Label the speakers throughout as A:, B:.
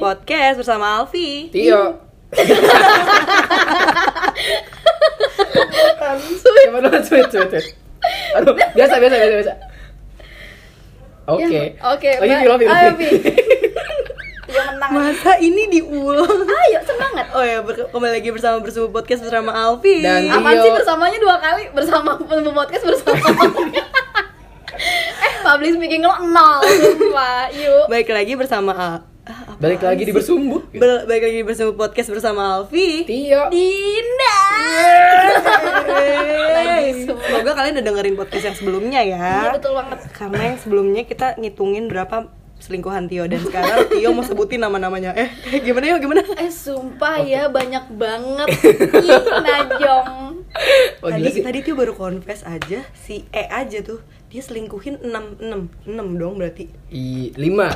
A: Podcast bersama Alfi.
B: Tio. Sweet. Coba dulu, sweet, sweet, sweet. Aduh, biasa, biasa, biasa, biasa.
C: Ya,
B: Oke.
C: oke,
B: Lagi
C: Mbak.
B: Vilo, Vilo.
C: Ayo, Vi. Tio menang.
A: Masa ini diulang?
C: Ayo semangat.
A: Oh ya, ber- kembali lagi bersama bersama podcast bersama Alfi.
B: Dan Tio.
C: Apaan sih bersamanya dua kali bersama penemu podcast bersama. eh, public speaking lo nol, sumpah. Yuk.
A: baik lagi bersama Al- Ah, apa?
B: Balik lagi di bersumbu.
A: Ber- baik lagi bersama podcast bersama Alfi.
B: Tio.
C: Dinda.
B: Iya.
A: Yeay. Semoga kalian udah dengerin podcast yang sebelumnya
C: Iya,
A: ya.
C: betul banget.
A: Karena yang sebelumnya kita ngitungin berapa selingkuhan Tio dan sekarang Tio mau sebutin nama-namanya. Eh, eh, gimana ya? Gimana?
C: Eh, sumpah ya banyak banget. Ih, Najong.
B: Oh,
A: tadi
B: gila sih.
A: tadi Tio baru confess aja si E aja tuh. Dia selingkuhin 6 6 6 dong berarti.
B: I, lima.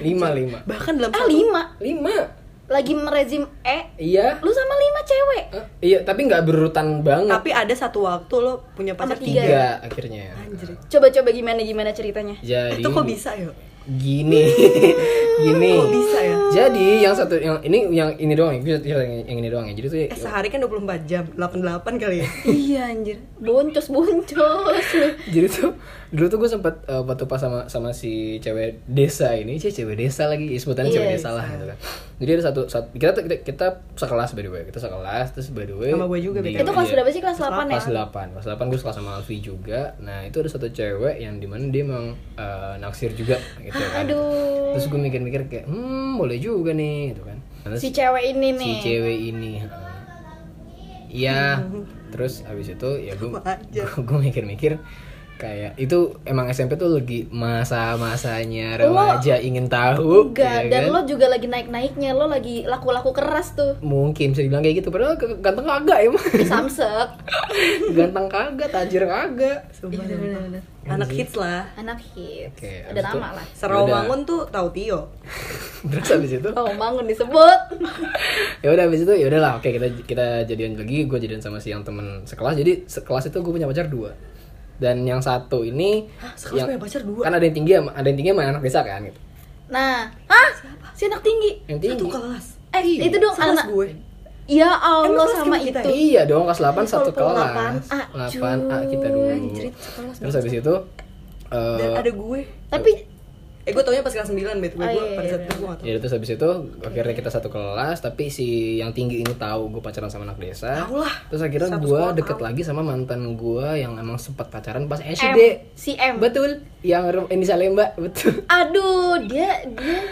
B: Lima, lima.
A: Bahkan dalam
C: Ah,
A: satu-
C: lima.
B: Lima.
C: Lagi merezim E.
B: Iya.
C: Lu sama lima cewek.
B: Eh, iya, tapi nggak berurutan banget.
A: Tapi ada satu waktu lo punya pacar
C: Sama
A: tiga.
C: tiga.
B: Tiga akhirnya.
A: Anjir.
C: Coba-coba gimana gimana ceritanya?
B: Jadi
A: Itu kok bisa ya?
B: Gini. Gini.
A: Kok bisa ya?
B: Jadi yang satu yang ini yang ini doang ya, yang, yang ini doang ya. Jadi tuh
A: Eh sehari kan 24 jam, 88 kali ya.
C: Iya anjir, boncos boncos lu.
B: jadi tuh dulu tuh gue sempet eh, waktu pas sama sama si cewek desa ini cie cewek desa lagi ya, sebutannya cewek
C: Iya,
B: desa lah gitu kan jadi ada satu, satu kita, tuh- kita kita sekelas by the way kita sekelas terus by the way
A: Sama gue juga,
B: di-
A: BTW.
C: Itu kelas
B: iya.
C: berapa sih kelas 8 ya?
B: kelas 8 kelas 8 gue sekelas sama Alfi juga nah itu ada satu cewek yang dimana dia emang eh, naksir juga gitu kan
C: Aduh.
B: terus gue mikir-mikir kayak hmm boleh juga nih gitu kan Nah,
C: Si
B: terus-
C: cewek ini
B: si
C: nih.
B: cewek ini heeh. iya terus habis itu ya gue
A: Sama aja.
B: gue mikir-mikir kayak itu emang SMP tuh lagi masa-masanya
C: Lo-
B: remaja ingin tahu
C: Enggak,
B: ya
C: dan
B: kan?
C: lo juga lagi naik-naiknya, lo lagi laku-laku keras tuh.
B: mungkin bisa dibilang kayak gitu padahal ke- ganteng kagak emang
C: Di Samsek.
B: ganteng kagak tajir kagak
A: Sumpah. Anak hits lah.
C: Anak hits.
B: Oke,
C: Udah
B: abis itu-
C: lama lah.
A: Serawangun tuh tahu Tio.
B: terus habis itu
C: Oh, bangun disebut.
B: ya udah habis itu ya udahlah oke kita kita jadian lagi gue jadian sama si yang temen sekelas jadi sekelas itu gue punya pacar dua dan yang satu ini
A: sekelas punya pacar dua?
B: kan ada yang tinggi sama- ada yang tinggi sama anak desa kan gitu
C: Nah, ah, si anak tinggi.
B: yang tinggi
A: Satu kelas.
C: Eh, itu dong
A: Sekelas
C: anak.
A: gue.
C: Ya Allah
A: Emang kelas
C: sama
A: kita
C: itu.
A: ya?
B: Iya dong, kelas 8 satu
C: Kalau kelas
B: kelas.
C: 8A,
B: 8A kita
C: cuy.
B: dulu.
C: Anjir,
B: Terus habis itu eh,
A: Dan ada gue.
C: Tapi
A: Eh gue taunya pas kelas 9 bet gue
C: Oh,
A: gue
C: iya,
A: pada
C: iya,
A: saat
C: iya.
A: itu gue gak tau.
B: ya terus habis itu akhirnya kita satu kelas tapi si yang tinggi ini tahu gue pacaran sama anak desa
A: Tahu lah.
B: terus akhirnya
A: Satu
B: gue
A: sekolah
B: deket
A: tahu.
B: lagi sama mantan gue yang emang sempat pacaran pas
C: M,
B: SD
C: si M.
B: betul yang ru- inisialnya mbak betul
C: Aduh, dia dia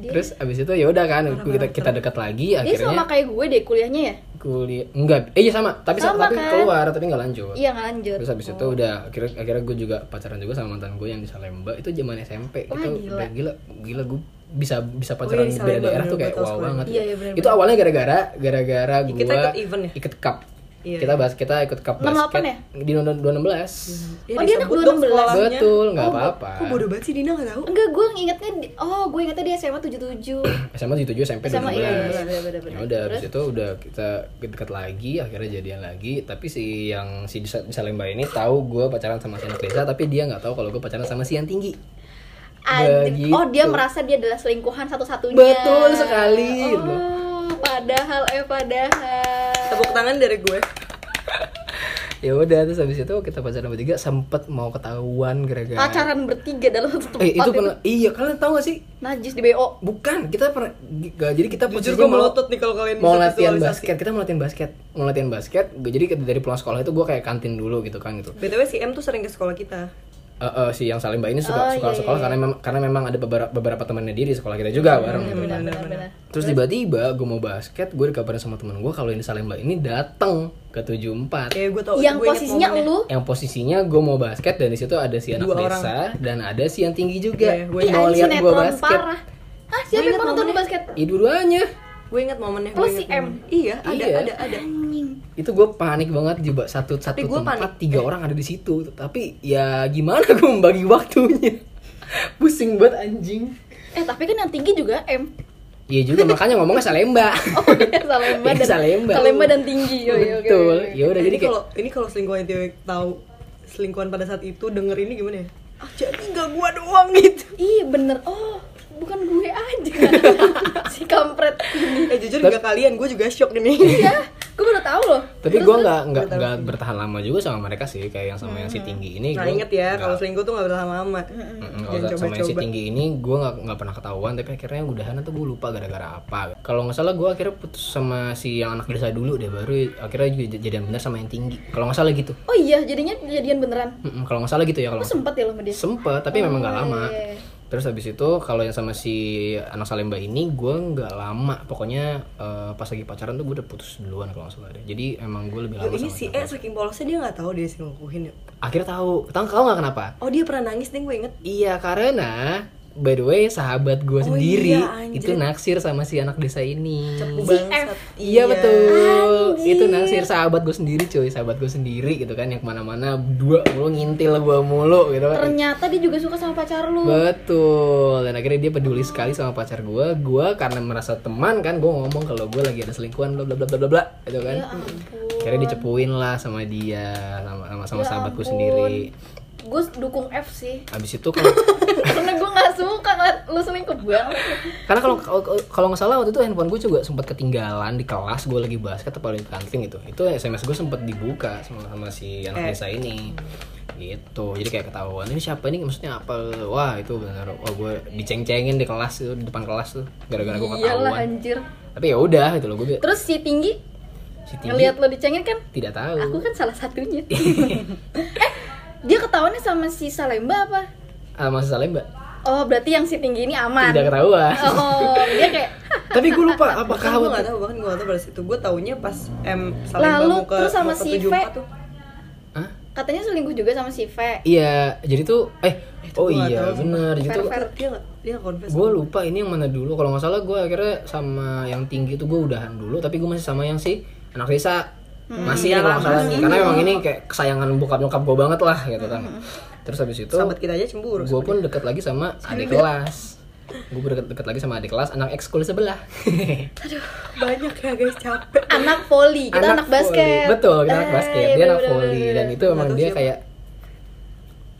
C: dia,
B: terus habis itu ya udah kan kita kita dekat lagi
C: dia sama
B: akhirnya
C: kayak gue deh kuliahnya ya?
B: kuliah enggak eh iya sama tapi
C: Sama
B: tapi
C: kan?
B: keluar tapi nggak lanjut
C: Iya, nggak lanjut.
B: Terus habis
A: Oh.
B: itu udah akhirnya akhirnya gue juga pacaran juga sama mantan gue yang di Salemba itu zaman SMP
C: Wah,
B: itu
C: gila.
B: udah gila gila gue bisa bisa pacaran
A: iya, di
B: di
A: Salemba,
B: beda daerah tuh
A: bener,
B: kayak
A: betul
B: wow
A: sekali.
B: banget.
C: Iya, iya, bener,
B: itu awalnya gara-gara gara-gara gue
A: kita ikut event ya?
B: ikut cup.
A: Iya,
B: kita bahas kita ikut cup
C: 68
B: basket
C: ya?
B: di nonton 216.
C: Oh, dia anak
A: disebut dong
C: 12.
A: sekolahnya.
B: Betul, nggak
A: Iya. Oh,
B: apa-apa.
A: Kok bodoh banget sih Dina gak tau?
C: Enggak, gue ingetnya di- oh, gue ingetnya dia SMA 77.
B: SMA 77 SMP
C: SMA,
B: 12.
C: iya, iya, iya, bener-bener.
B: Ya udah habis
C: Terus?
B: itu udah kita dekat lagi akhirnya jadian lagi tapi si yang si di Sa- di Salemba ini tahu gue pacaran sama si anak desa tapi dia nggak tahu kalau gue pacaran sama si yang tinggi.
C: Anjir.
B: Begitu.
C: Oh, dia merasa dia adalah selingkuhan satu-satunya.
B: gitu. Betul sekali. gitu.
C: Oh, padahal eh padahal.
A: Tepuk tangan dari gue.
B: ya udah terus habis itu kita pacaran bertiga sempet mau ketahuan gara-gara
C: Pacaran bertiga dalam satu tempat.
B: eh itu pernah iya kalian tahu gak sih
C: najis di BO.
B: bukan kita pernah g- gak- jadi kita
A: Jujur
B: posisinya
A: gue
B: mau-
A: melotot nih kalau kalian
B: mau
A: bisa
B: latihan
A: visualisasi.
B: basket kita mau latihan basket mau latihan basket Gua- jadi ke- dari pulang sekolah itu gue kayak kantin dulu gitu kan gitu
A: BTW si M tuh sering ke sekolah kita.
B: Eh, eh, si yang Salimba ini
C: Oh,
B: suka
C: iya,
B: suka
C: iya,
B: sekolah
C: iya.
B: karena memang karena memang ada beberapa beberapa temannya dia di sekolah kita juga bareng gitu kan
C: Benar-benar.
B: terus tiba-tiba gue mau basket gue dikabarin sama temen gue kalau ini Salimba ini datang ke 74
A: Ya gue tau.
C: Yang
A: gue inget
C: posisinya
A: momennya.
C: lu
B: yang posisinya gue mau basket dan di situ ada si anak
A: Dua orang.
B: desa dan ada si yang tinggi juga
A: Iya, gue
C: Ih, anjir,
B: mau lihat gue
C: sinetron
B: basket
C: Parah. Ah, siapa
A: Gue
C: yang
A: inget
C: nonton di
A: momennya.
C: basket?
B: Ih, dua-duanya
A: Gue inget momennya.
C: Plus
A: gue
C: si
A: inget
C: M.
A: momennya. Iya, ada
B: Iya.
A: ada ada.
B: itu gue panik banget juga satu satu
A: Tapi gue
B: tempat
A: panik.
B: tiga orang ada di situ tapi ya gimana gue membagi waktunya pusing banget anjing
C: Eh, tapi kan yang tinggi juga M.
B: Iya juga makanya ngomongnya Salemba
C: Oh, iya, Salemba
B: Iya,
C: dan
B: Salemba.
C: Salemba dan tinggi.
A: iya,
C: Yo, yo, oke,
B: betul
C: oke, oke.
B: ya udah
A: Nah,
B: jadi
A: ini
B: kayak
A: kalau ini kalau selingkuhan Tio tahu selingkuhan pada saat itu denger ini gimana ya? Ah, jadi gak gua doang gitu.
C: Iya bener. Oh, bukan gue aja si kampret ini
A: eh jujur nggak kalian gue juga shock nih
C: ya gue baru tahu loh
B: tapi gue nggak nggak nggak bertahan lama juga sama mereka sih kayak yang sama yang si tinggi ini
A: nah
B: gua
A: inget ya
B: nggak-
A: kalau selingkuh tuh nggak boleh lama-lama
B: Mm-mm, kalau
A: jangan
B: sama yang si
A: coba-coba
B: tinggi ini gue nggak nggak pernah ketahuan tapi akhirnya udahan tuh gue lupa gara-gara apa kalau nggak salah gue akhirnya putus sama si yang anak desa dulu deh baru akhirnya j- jadian bener sama yang tinggi kalau nggak salah gitu
C: oh iya jadinya jadian beneran
B: Mm-mm, kalau nggak salah gitu ya kalau
C: lu
B: nggak-
C: sempet ya lo sama dia
B: sempet tapi memang
A: Oh,
B: nggak lama
A: iya,
C: Eh,
B: terus habis itu kalau yang sama si anak Salemba ini gue nggak lama pokoknya eh, pas lagi pacaran tuh gue udah putus duluan kalau nggak salah deh jadi emang gue lebih
A: Duh,
B: lama
A: ini
B: sama
A: si E
B: dia.
A: saking polosnya dia nggak tahu dia selingkuhin ya
B: akhirnya tahu tahu tahu nggak kenapa
A: oh dia pernah nangis deh gue inget
B: Iya karena by the way sahabat gue
A: Oh
B: sendiri
A: iya, anjir.
B: itu naksir sama si anak desa ini.
C: Si
A: Bangsat.
C: F.
B: Iya betul,
C: Anjir.
B: itu naksir sahabat gue sendiri cuy, sahabat gue sendiri gitu kan yang kemana-mana dua mulu ngintil gue mulu gitu kan.
C: ternyata dia juga suka sama pacar lu
B: Betul, dan akhirnya dia peduli sekali sama pacar gue. Gue karena merasa teman kan, gue ngomong kalau gue lagi ada selingkuhan bla bla bla bla bla bla, gitu
C: ya
B: kan.
C: ampun
B: Akhirnya dicepuin lah sama dia, sama sama, sama
C: Ya
B: sahabat gue
C: ampun.
B: sendiri.
C: gue dukung F sih
B: Abis itu kan kalau
C: karena gue nggak suka ngeliat lu selingkuh banget
B: Karena kalau kalau- kalau nggak salah waktu itu handphone gue juga sempat ketinggalan di kelas gue lagi basket atau lagi hunting gitu. Itu SMS gue sempat dibuka sama sama si
A: Eh.
B: anak desa ini. Gitu. Jadi kayak ketahuan ini siapa ini maksudnya apa? Wah, itu benar. Wah, gue diceng-cengin di kelas itu di depan kelas tuh gara-gara gue
C: iyalah
B: ketahuan.
C: anjir
B: Tapi ya udah gitu loh gue
C: terus si tinggi
B: si tinggi
C: ngeliat lo dicengin kan
B: tidak tahu.
C: aku kan salah satunya eh dia ketahuannya sama si Salemba apa
B: Ah, masa salah Mbak?
C: oh berarti yang si tinggi ini aman
B: Tidak ketahuan.
C: oh dia kayak "Hah,
B: Tapi gue lupa apakah
A: bahkan gue nggak tahu bahkan gue nggak tahu pada situ gue taunya pas M
C: Lalu,
A: Salemba mau ke
C: terus sama
A: mau ke
C: si
A: 74
C: V.
A: tuh.
B: Hah?
C: katanya selingkuh juga sama si V
B: Iya, jadi tuh eh
A: Itu
B: oh
A: gua nggak
B: iya
A: tahu.
B: benar. Jadi tuh
A: Ver, dia nggak dia nggak confess
B: gue lupa ini yang mana dulu kalau nggak salah gue akhirnya sama yang tinggi itu gue udahan dulu tapi gue masih sama yang si anak desa masih ya kalau nggak salah nih karena memang ini kayak kesayangan bokap nyokap gue banget lah gitu kan terus habis itu
A: sahabat kita aja cemburu
B: gue pun deket lagi sama adik kelas gue deket deket lagi sama adik kelas anak ekskul sebelah
A: banyak ya guys capek
C: anak poli kita anak,
B: voli.
C: basket
B: betul kita anak
C: Eh,
B: basket dia anak
C: bener-bener.
B: voli dan itu
A: Nggak
B: emang
A: tahu
B: dia
A: siapa.
B: kayak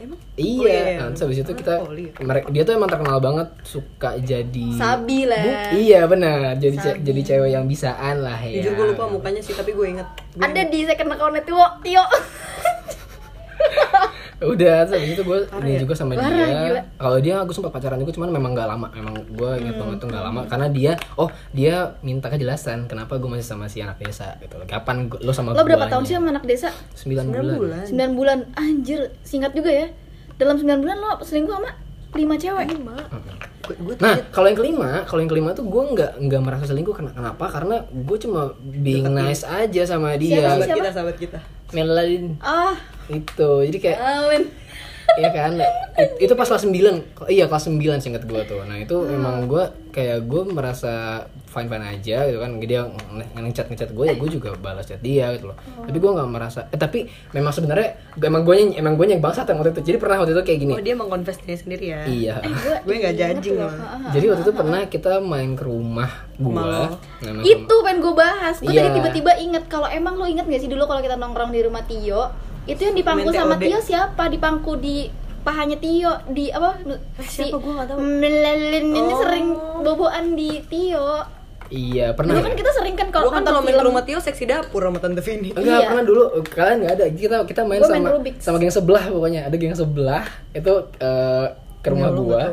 A: emang
B: Iya,
A: Oh, iya.
B: nah, terus habis itu kita
A: Ah, poli.
B: mereka dia tuh emang terkenal banget suka jadi
C: Sabi lah.
B: Bu- iya benar, jadi ce- jadi cewek yang bisaan lah ya.
A: jujur gue lupa mukanya sih tapi gue inget Gua
C: ada di second accountnya Tio Tio
B: Udah, terus habis itu gue ini juga sama
C: Parah, gila. Hmm.
B: dia. Kalau dia aku sempat pacaran juga cuman memang gak lama. Memang gue inget banget tuh gak lama karena dia oh, dia minta kejelasan kenapa gue masih sama si anak desa gitu. loh. Kapan gua- lo sama
C: lo berapa
B: guanya?
C: tahun sih sama anak desa
B: Sembilan
A: sembilan
B: bulan.
A: bulan
C: 9 bulan anjir singkat juga ya dalam 9 bulan lo selingkuh sama 5 cewek
B: Eh.
A: gue gue
B: Nah, kalau yang kelima, kalau yang kelima tuh gue nggak nggak merasa selingkuh Ken- kenapa? Karena gue cuma being nice aja sama dia.
A: sahabat
C: Siapa?
A: kita sahabat kita
B: Melalin
C: ah
B: itu jadi kayak
C: Alin
B: ya kan it- itu pas kelas 9 iya kelas 9 singkat gue tuh nah itu emang gue kayak gue merasa fine fine aja gitu kan dia nge- ngechat ngechat gue ya gue juga balas chat dia gitu loh tapi gue nggak merasa eh, tapi memang sebenarnya emang gue emang gue yang bangsat yang waktu itu jadi pernah waktu itu kayak gini
A: oh dia emang confess diri sendiri ya
B: iya
C: Eh,
A: gue nggak judging loh
C: Ah,
B: jadi waktu itu pernah kita main ke rumah gue Nah, main ke
C: itu pengen gue bahas gue
B: Iya.
C: tadi tiba-tiba inget kalau emang lo inget gak sih dulu kalau kita nongkrong di rumah Tio itu yang dipangku
A: Main
C: sama
A: TOD.
C: Tio siapa dipangku di pahanya Tio di apa si
A: Nah, siapa? Gua nggak tahu.
C: Melalin ini
A: Oh.
C: sering boboan di Tio
B: iya pernah
C: dulu kan
B: ya?
C: kita sering kan
A: gue
C: kalau
A: kan
C: nonton
A: kalau main ke
C: film
A: rumah Tio seksi dapur sama tante Vini
B: Enggak,
C: Iya.
B: pernah dulu kalian nggak ada. Kita kita main
C: Gua main
B: sama
C: Rubik's.
B: sama geng sebelah pokoknya. Ada geng sebelah itu eh, ke rumah
A: Enggak,
C: Iya,
A: lu
B: gua.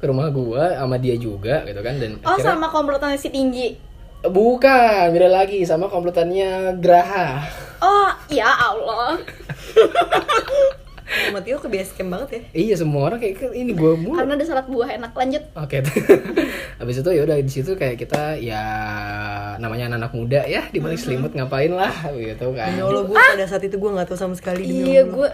B: Ke rumah gua sama dia juga gitu kan dan
C: oh sama komplotan si tinggi
B: bukan, beda lagi sama komplotannya Graha.
C: oh ya Allah
A: rumah Tio ke base camp banget ya
B: Iya, semua orang kayak "Kan ini gua
A: Uh.
B: mulu.
C: karena ada salad buah enak lanjut
B: Oke. Habis itu ya udah di situ kayak kita ya namanya anak-anak muda ya di balik selimut ngapain lah gitu kan.
A: Ya Allah, gue pada saat itu gue gak tahu sama sekali demi
C: Ah. iya
A: Allah.
C: gue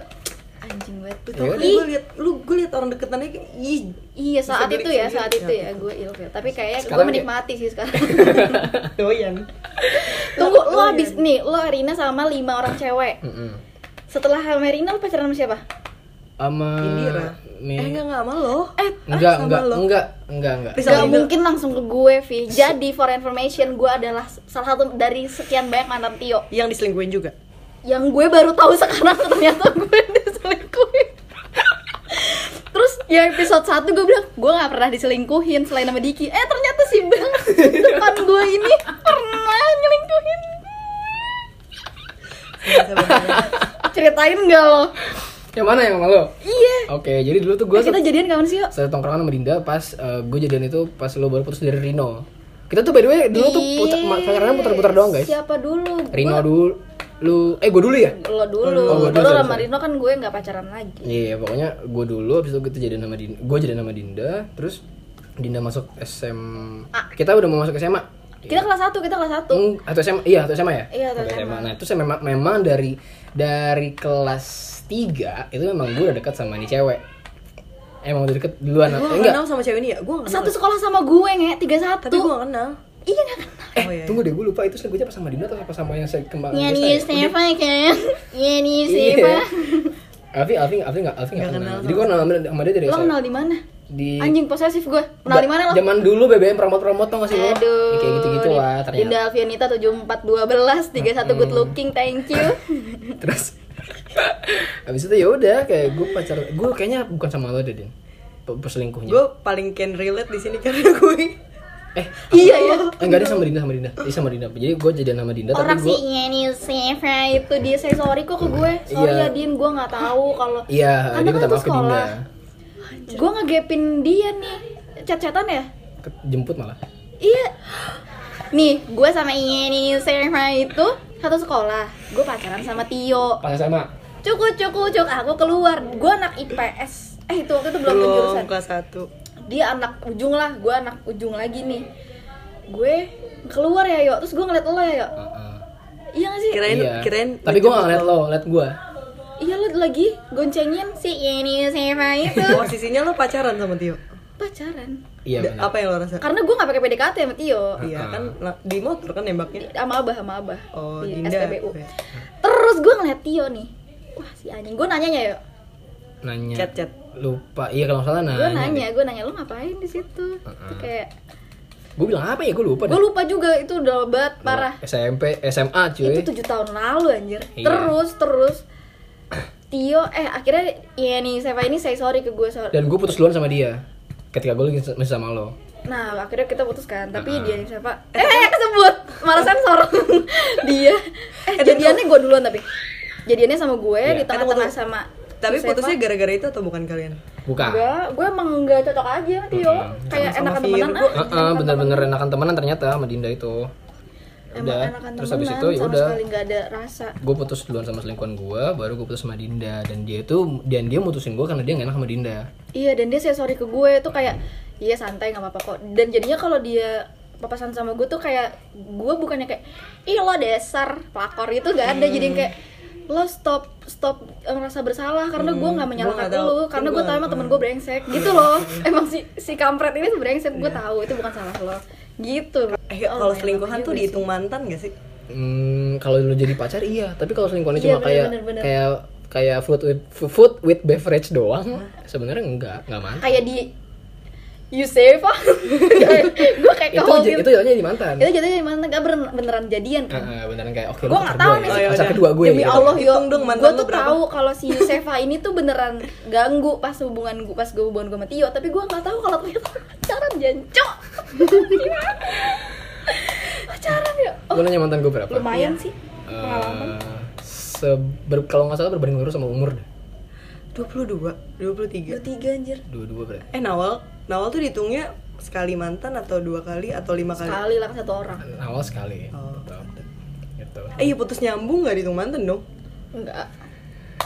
C: anjing banget
A: Tau kan
B: Iya.
C: Ih,
A: gue liat, lu gue liat orang deketannya kayak, ih
C: Iya saat
A: Bisa gitu.
C: itu ya,
A: beli
C: saat
A: sendiri.
C: itu ya gue ilfil. Tapi kayaknya gue
B: Sekarang kayak-
C: menikmati sih sekarang.
A: doyan
C: Tunggu lo habis nih, lo Arina sama lima orang cewek.
B: Mm-mm.
C: Setelah sama Arina lo pacaran sama siapa?
B: Sama
A: Indira
B: Mi-
A: Eh enggak, enggak sama lo
C: Eh,
B: enggak,
A: sama
B: enggak,
A: lo.
B: enggak, enggak, enggak.
A: Bisa
C: Gak
A: Arina.
C: mungkin langsung ke gue, Vi. Jadi for information, gue adalah salah satu dari sekian banyak mantan Tio.
A: Yang diselingkuhin juga
C: Yang gue baru tahu sekarang ternyata gue diselingkuhin. Terus ya episode 1 gue bilang gue nggak pernah diselingkuhin selain sama Diki eh ternyata si Bang depan gue ini pernah nyelingkuhin ceritain gak lo
B: yang mana yang sama lo?
C: iya
B: Oke, jadi dulu tuh gue
C: Eh, kita jadian kapan sih yuk
B: saya tongkrongan sama Dinda pas gue jadian itu pas lo baru putus dari Rino. Kita tuh by the way dulu tuh putar,
C: Ih,
B: pacarannya putar-putar doang guys.
C: siapa dulu
B: Rino dulu, lu eh gue dulu ya?
C: lo dulu
B: Oh, gua dulu,
C: baru
B: sorry,
C: sama
B: sorry.
C: Rino kan gue nggak pacaran lagi
B: Iya, pokoknya gue dulu habis itu kita jadian sama Dinda, gue jadian sama Dinda, terus Dinda masuk SM. Kita udah mau masuk SMA.
C: kita kelas 1 kita kelas 1
B: Hmm, atau SMA? Iya, atau SMA ya?
C: Iya, atau SMA.
B: Nah, itu saya memang memang dari dari kelas 3 itu memang gue udah dekat sama ini cewek. Emang udah deket duluan
A: gue gak
B: apa enggak?
A: kenal sama cewek ini ya
B: Mm.
A: gue gak kenal
C: satu sekolah sama gue nge tiga
A: tapi gue
C: satu
A: gak kenal
C: iya nggak kenal
B: Eh,
A: Oh, iya, iya.
B: tunggu deh, gue lupa itu selingkuhnya apa sama Dinda atau apa sama yang saya kembang
C: Iya nih
B: Desta ya? Udah.
C: Steva kan Iya nih
B: Iya.
C: Steva
B: Alfi, Alfi, Alfi nggak, Alfi nggak
A: Nggak
B: kenal.
A: kenal
B: Jadi gue kenal sama sama dia dari
C: Lo
B: SMA.
C: kenal di mana?
B: di
C: Anjing posesif gue Kenal di mana lo?
B: Zaman dulu BBM promot-promot tau gak sih lo? Ya,
C: Aduh
B: Kayak gitu-gitu lah
C: Dinda Alfianita
B: ternyata.
C: 7412 31 good looking thank you
B: Terus habis itu ya udah kayak gue pacar gue kayaknya bukan sama lo deh Din. Pe- Perselingkuhnya.
A: gue iya. paling can relate di sini karena gue
B: Eh,
C: Iya ya
B: eh, enggak dia sama Dinda sama Dinda. Dia sama Dinda. Jadi gue jadian sama Dinda tapi
C: Orang
B: gue
C: sih iya nih Steva itu dia say sorry kok ke gue Sorry ya
B: Iya.
C: Din gue gak tahu kalau
B: Iya,
C: Karena
B: dia
C: kan
B: minta
C: itu
B: maaf ke Dinda.
C: sekolah. Gue ngegepin dia nih Chat-chatan ya?
B: Ke- Jemput malah.
C: Iya. Nih, gue sama ini Sarah itu satu sekolah. Gue pacaran sama Tio.
B: Pas sama.
C: Cukup, cukup, cukup. Aku keluar. Gue anak IPS. Eh, itu waktu itu belum
A: belum
C: penjurusan.
A: kelas 1
C: Dia anak ujung lah. Gue anak ujung lagi nih. Gue keluar ya, yuk. Terus gue ngeliat lo ya, yuk. Iya gak sih?
A: kirain
B: Iya.
A: kirain
B: Tapi gue gak ngeliat lo, ngeliat gue.
C: Iya, lo lagi goncengin si ini Sarah itu.
A: posisinya lo pacaran sama Tio
C: Pacaran.
B: Iya
A: Da-
B: benar.
A: apa yang lo rasa
C: Karena gue gak pakai PDKT sama Tio.
A: iya kan la- di motor kan nembaknya
C: Sama abah, sama abah.
A: oh
C: Di
A: Dinda
C: SPBU. Terus gue ngeliat Tio nih Wah si anjing, gue nanyanya ya
B: Nanya.
A: chat chat
B: Lupa. Iya kalau nggak salah nanya.
C: Gue nanya, gue nanya lu ngapain di situ Itu kayak
B: Gue bilang apa ya? Gue lupa
C: Gue lupa juga itu udah banget parah
B: SMP, SMA cuy.
C: Itu tujuh tahun lalu anjir
B: Iya.
C: Terus, terus Tio, eh akhirnya Iya nih, Seva ini say sorry ke gue sorry
B: Dan gue putus duluan sama dia. Ketika gue lagi masih sama lo.
C: Nah akhirnya kita putuskan Tapi dia nih Seva Eh, eh kesebut Malah sensor Dia Eh jadiannya gue duluan tapi Jadiannya sama gue
B: Iya.
C: di tengah-tengah
A: Eh, tunggu,
C: sama
A: tapi
C: si Seva.
A: putusnya gara-gara itu atau bukan kalian
B: Bukan.
C: Enggak, gue emang gak cocok aja sama Tio Kayak
A: Sama-sama
C: enakan
A: Vin.
C: temenan
A: Gua-
C: ah
B: Heeh, bener-bener enakan temenan ternyata sama Dinda itu.
C: Emang
B: Ya Udah.
C: enakan
B: Terus
C: temenan,
B: habis itu ya
C: sama
B: udah.
C: sekali gak ada rasa
B: Gue putus duluan sama selingkuhan gue, baru gue putus sama Dinda dan dia itu dan dia mutusin gue karena dia gak enak sama Dinda.
C: Iya, dan dia say sorry ke gue tuh kayak Iya santai gak apa-apa kok Dan jadinya kalau dia papasan sama gue tuh kayak Gue bukannya kayak Ih lo dasar pelakor itu gak ada Jadi
A: Hmm.
C: kayak lo stop stop merasa bersalah karena gue nggak
A: Hmm, gua
C: menyalahkan
A: nggak tahu. Hmm.
C: lo karena gue
A: Gua-
C: tahu emang temen gue brengsek gitu loh emang si si kampret ini tuh brengsek gue tahu itu bukan salah lo gitu
A: Iya. eh
C: Oh,
A: kalau
C: enak
A: selingkuhan
C: aja
A: tuh
C: gue
A: dihitung mantan gak sih
B: Hmm, kalau lu jadi pacar iya, tapi kalau selingkuhannya
C: Iya,
B: cuma kayak
C: bener-bener.
B: kayak kayak food with food with beverage doang, sebenarnya enggak, enggak mantan.
C: kayak di Yusefa gue kayak
B: Itu
C: kehokin itu,
B: j- itu jadinya di mantan.
C: itu jadinya gimana gak bener- beneran jadian
A: Nah,
B: Heeh,
C: kan
B: beneran kayak oke
C: Gua
B: lu
C: nggak
B: pacar
C: tahu
B: gua
C: nih
B: ya,
A: sih. Oh,
B: pacar
A: ya
B: kedua gue
A: Demi
B: gitu.
A: Allah,
C: Allah yo
A: Hitung dong, mantan
C: gue
A: lu
C: tuh
A: berapa?
C: tahu kalau si Yusefa ini tuh beneran ganggu pas hubungan gue pas gue hubungan gue sama Tio tapi gue nggak tahu kalau ternyata pacaran janco pacaran ya oh,
B: Gue nanya mantan gue berapa?
C: lumayan sih
B: Eh, seber, kalau nggak salah berbanding lurus sama umur deh.
A: 22
C: dua
A: 23
C: tiga anjir
B: Dua-dua berarti.
A: eh Nawal Nawal tuh dihitungnya sekali mantan atau dua kali atau lima kali
C: sekali lah satu orang
B: Awal sekali.
A: Oh.
B: Gitu. Gitu.
A: eh iya putus nyambung gak dihitung mantan dong
C: enggak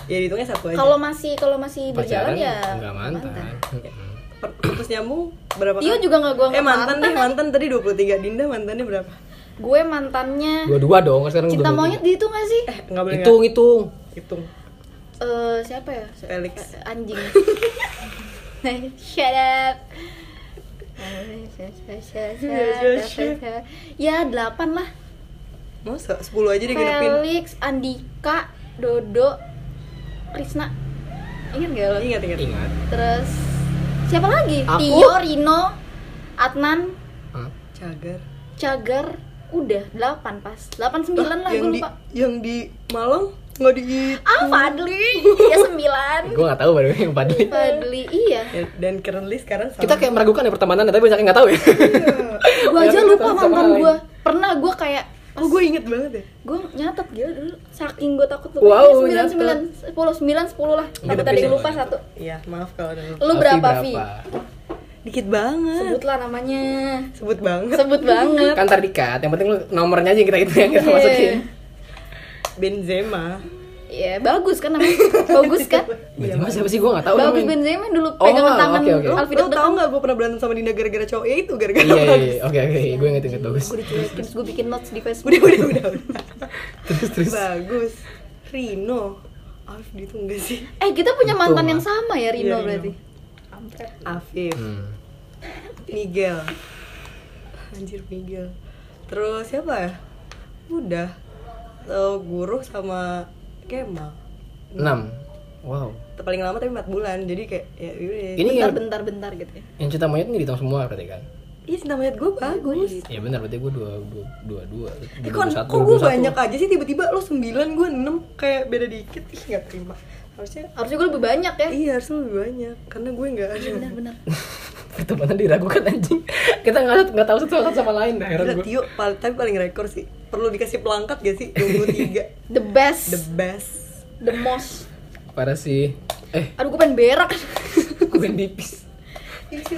A: ya dihitungnya satu aja
C: kalau masih kalau masih berjalan
B: Pacaran
C: ya
B: nggak mantan. Mm-mm.
A: Per- putus nyambung berapa
C: Tio
A: kali?
C: Iya juga nggak kan. gue
A: eh mantan deh mantan tadi 23 Dinda mantannya berapa
C: gue mantannya
B: Dua-dua dong sekarang.
C: cinta
B: dua-dua.
C: monyet dihitung gak sih
A: eh nggak boleh
B: Hitung hitung.
A: hitung
C: Eh siapa ya Se-
A: Felix.
C: eh, anjing shut up ya delapan lah
A: masa 10 aja diginepin
C: Felix Andika Dodo Krisna ingat gak lo
A: ingat ingat
B: Ingat.
C: terus siapa lagi
B: Aku.
C: Tio Rino Adnan
B: Hah?
A: cagar
C: Cagar udah delapan pas delapan sembilan lah
A: yang
C: gue
A: di
C: lupa
A: yang di Malang nggak digitu
C: Ah Fadli ya sembilan
B: gue nggak tahu baru yang Fadli
C: Fadli iya
A: Ya, dan currently sekarang sama
B: kita kayak meragukan ya pertemanan tapi banyak yang nggak tahu
C: Iya.
B: ya
C: gue aja
B: Orang
C: lupa
B: tahu sama
C: mantan
B: lain.
C: gue pernah gue kayak
A: oh gue inget banget ya
C: gue nyatet gila dulu saking gue takut
B: Wow,
C: lupa Iya, sembilan
B: nyatet.
C: sembilan sepuluh sembilan sepuluh lah takut
B: tapi
C: tadi
B: jangan
C: lupa
B: gitu.
C: satu
A: iya maaf kalau ada lupa.
C: lu
B: Tapi
C: berapa Vi
A: dikit banget
C: sebutlah namanya
A: sebut banget
C: sebut banget
B: kan ntar dikat yang penting lu nomornya aja yang kita itu yang kita
C: Iya.
B: masukin
A: Benzema
C: Iya, bagus kan namanya bagus kan
B: Benzema siapa sih gue nggak tahu
C: bagus
B: namanya.
C: Benzema dulu
B: Oh,
C: pegangan
B: oke,
C: tangan
B: oke.
C: Alfredo
A: lo tau nggak gue pernah berantem sama Dina gara-gara cowok ya itu gara-gara
B: iya iya
A: Max.
B: iya. oke oke gue inget inget bagus
C: gue dicuekin terus gue bikin notes di Facebook
A: udah udah udah, udah.
B: terus terus
A: bagus Rino Afif itu enggak sih
C: eh kita punya
B: Betul,
C: mantan
B: Ma.
C: yang sama ya
A: Iya,
C: Rino
A: Rino.
C: berarti
A: Afif
B: Hmm.
A: Miguel anjir Miguel terus siapa ya udah Eh, guru sama Kemal
B: enam wow
A: paling lama tapi 4 bulan jadi kayak ya udah
B: ini
C: bentar
B: yang
C: bentar bentar gitu ya
B: yang cinta monyet ini dihitung semua berarti kan
A: iya cinta monyet gue bagus
B: ya benar berarti gue dua dua dua dua
A: Eh,
B: dua
A: kok,
B: puluh satu,
A: kok
B: dua
A: gue
B: puluh satu.
A: banyak aja sih tiba-tiba lo 9 gue 6 kayak beda dikit ih nggak terima harusnya
C: harusnya gue lebih banyak ya
A: iya harusnya lebih banyak karena gue nggak ada
C: benar benar
B: pertemanan diragukan anjing kita nggak nggak tahu satu sama, sama lain dah heran
A: Gila,
B: gue
A: Tio pal- tapi paling rekor sih perlu dikasih pelangkat gak sih 23
C: the best
A: the best
C: the most
B: parah sih eh
C: aduh gue pengen berak
B: gue yang nipis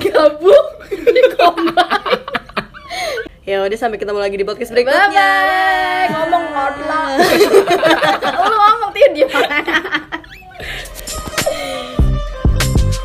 C: gabung di kombat
A: ya udah sampai ketemu lagi di podcast
C: bye
A: berikutnya
C: bye ngomong ngorla lu ngomong dia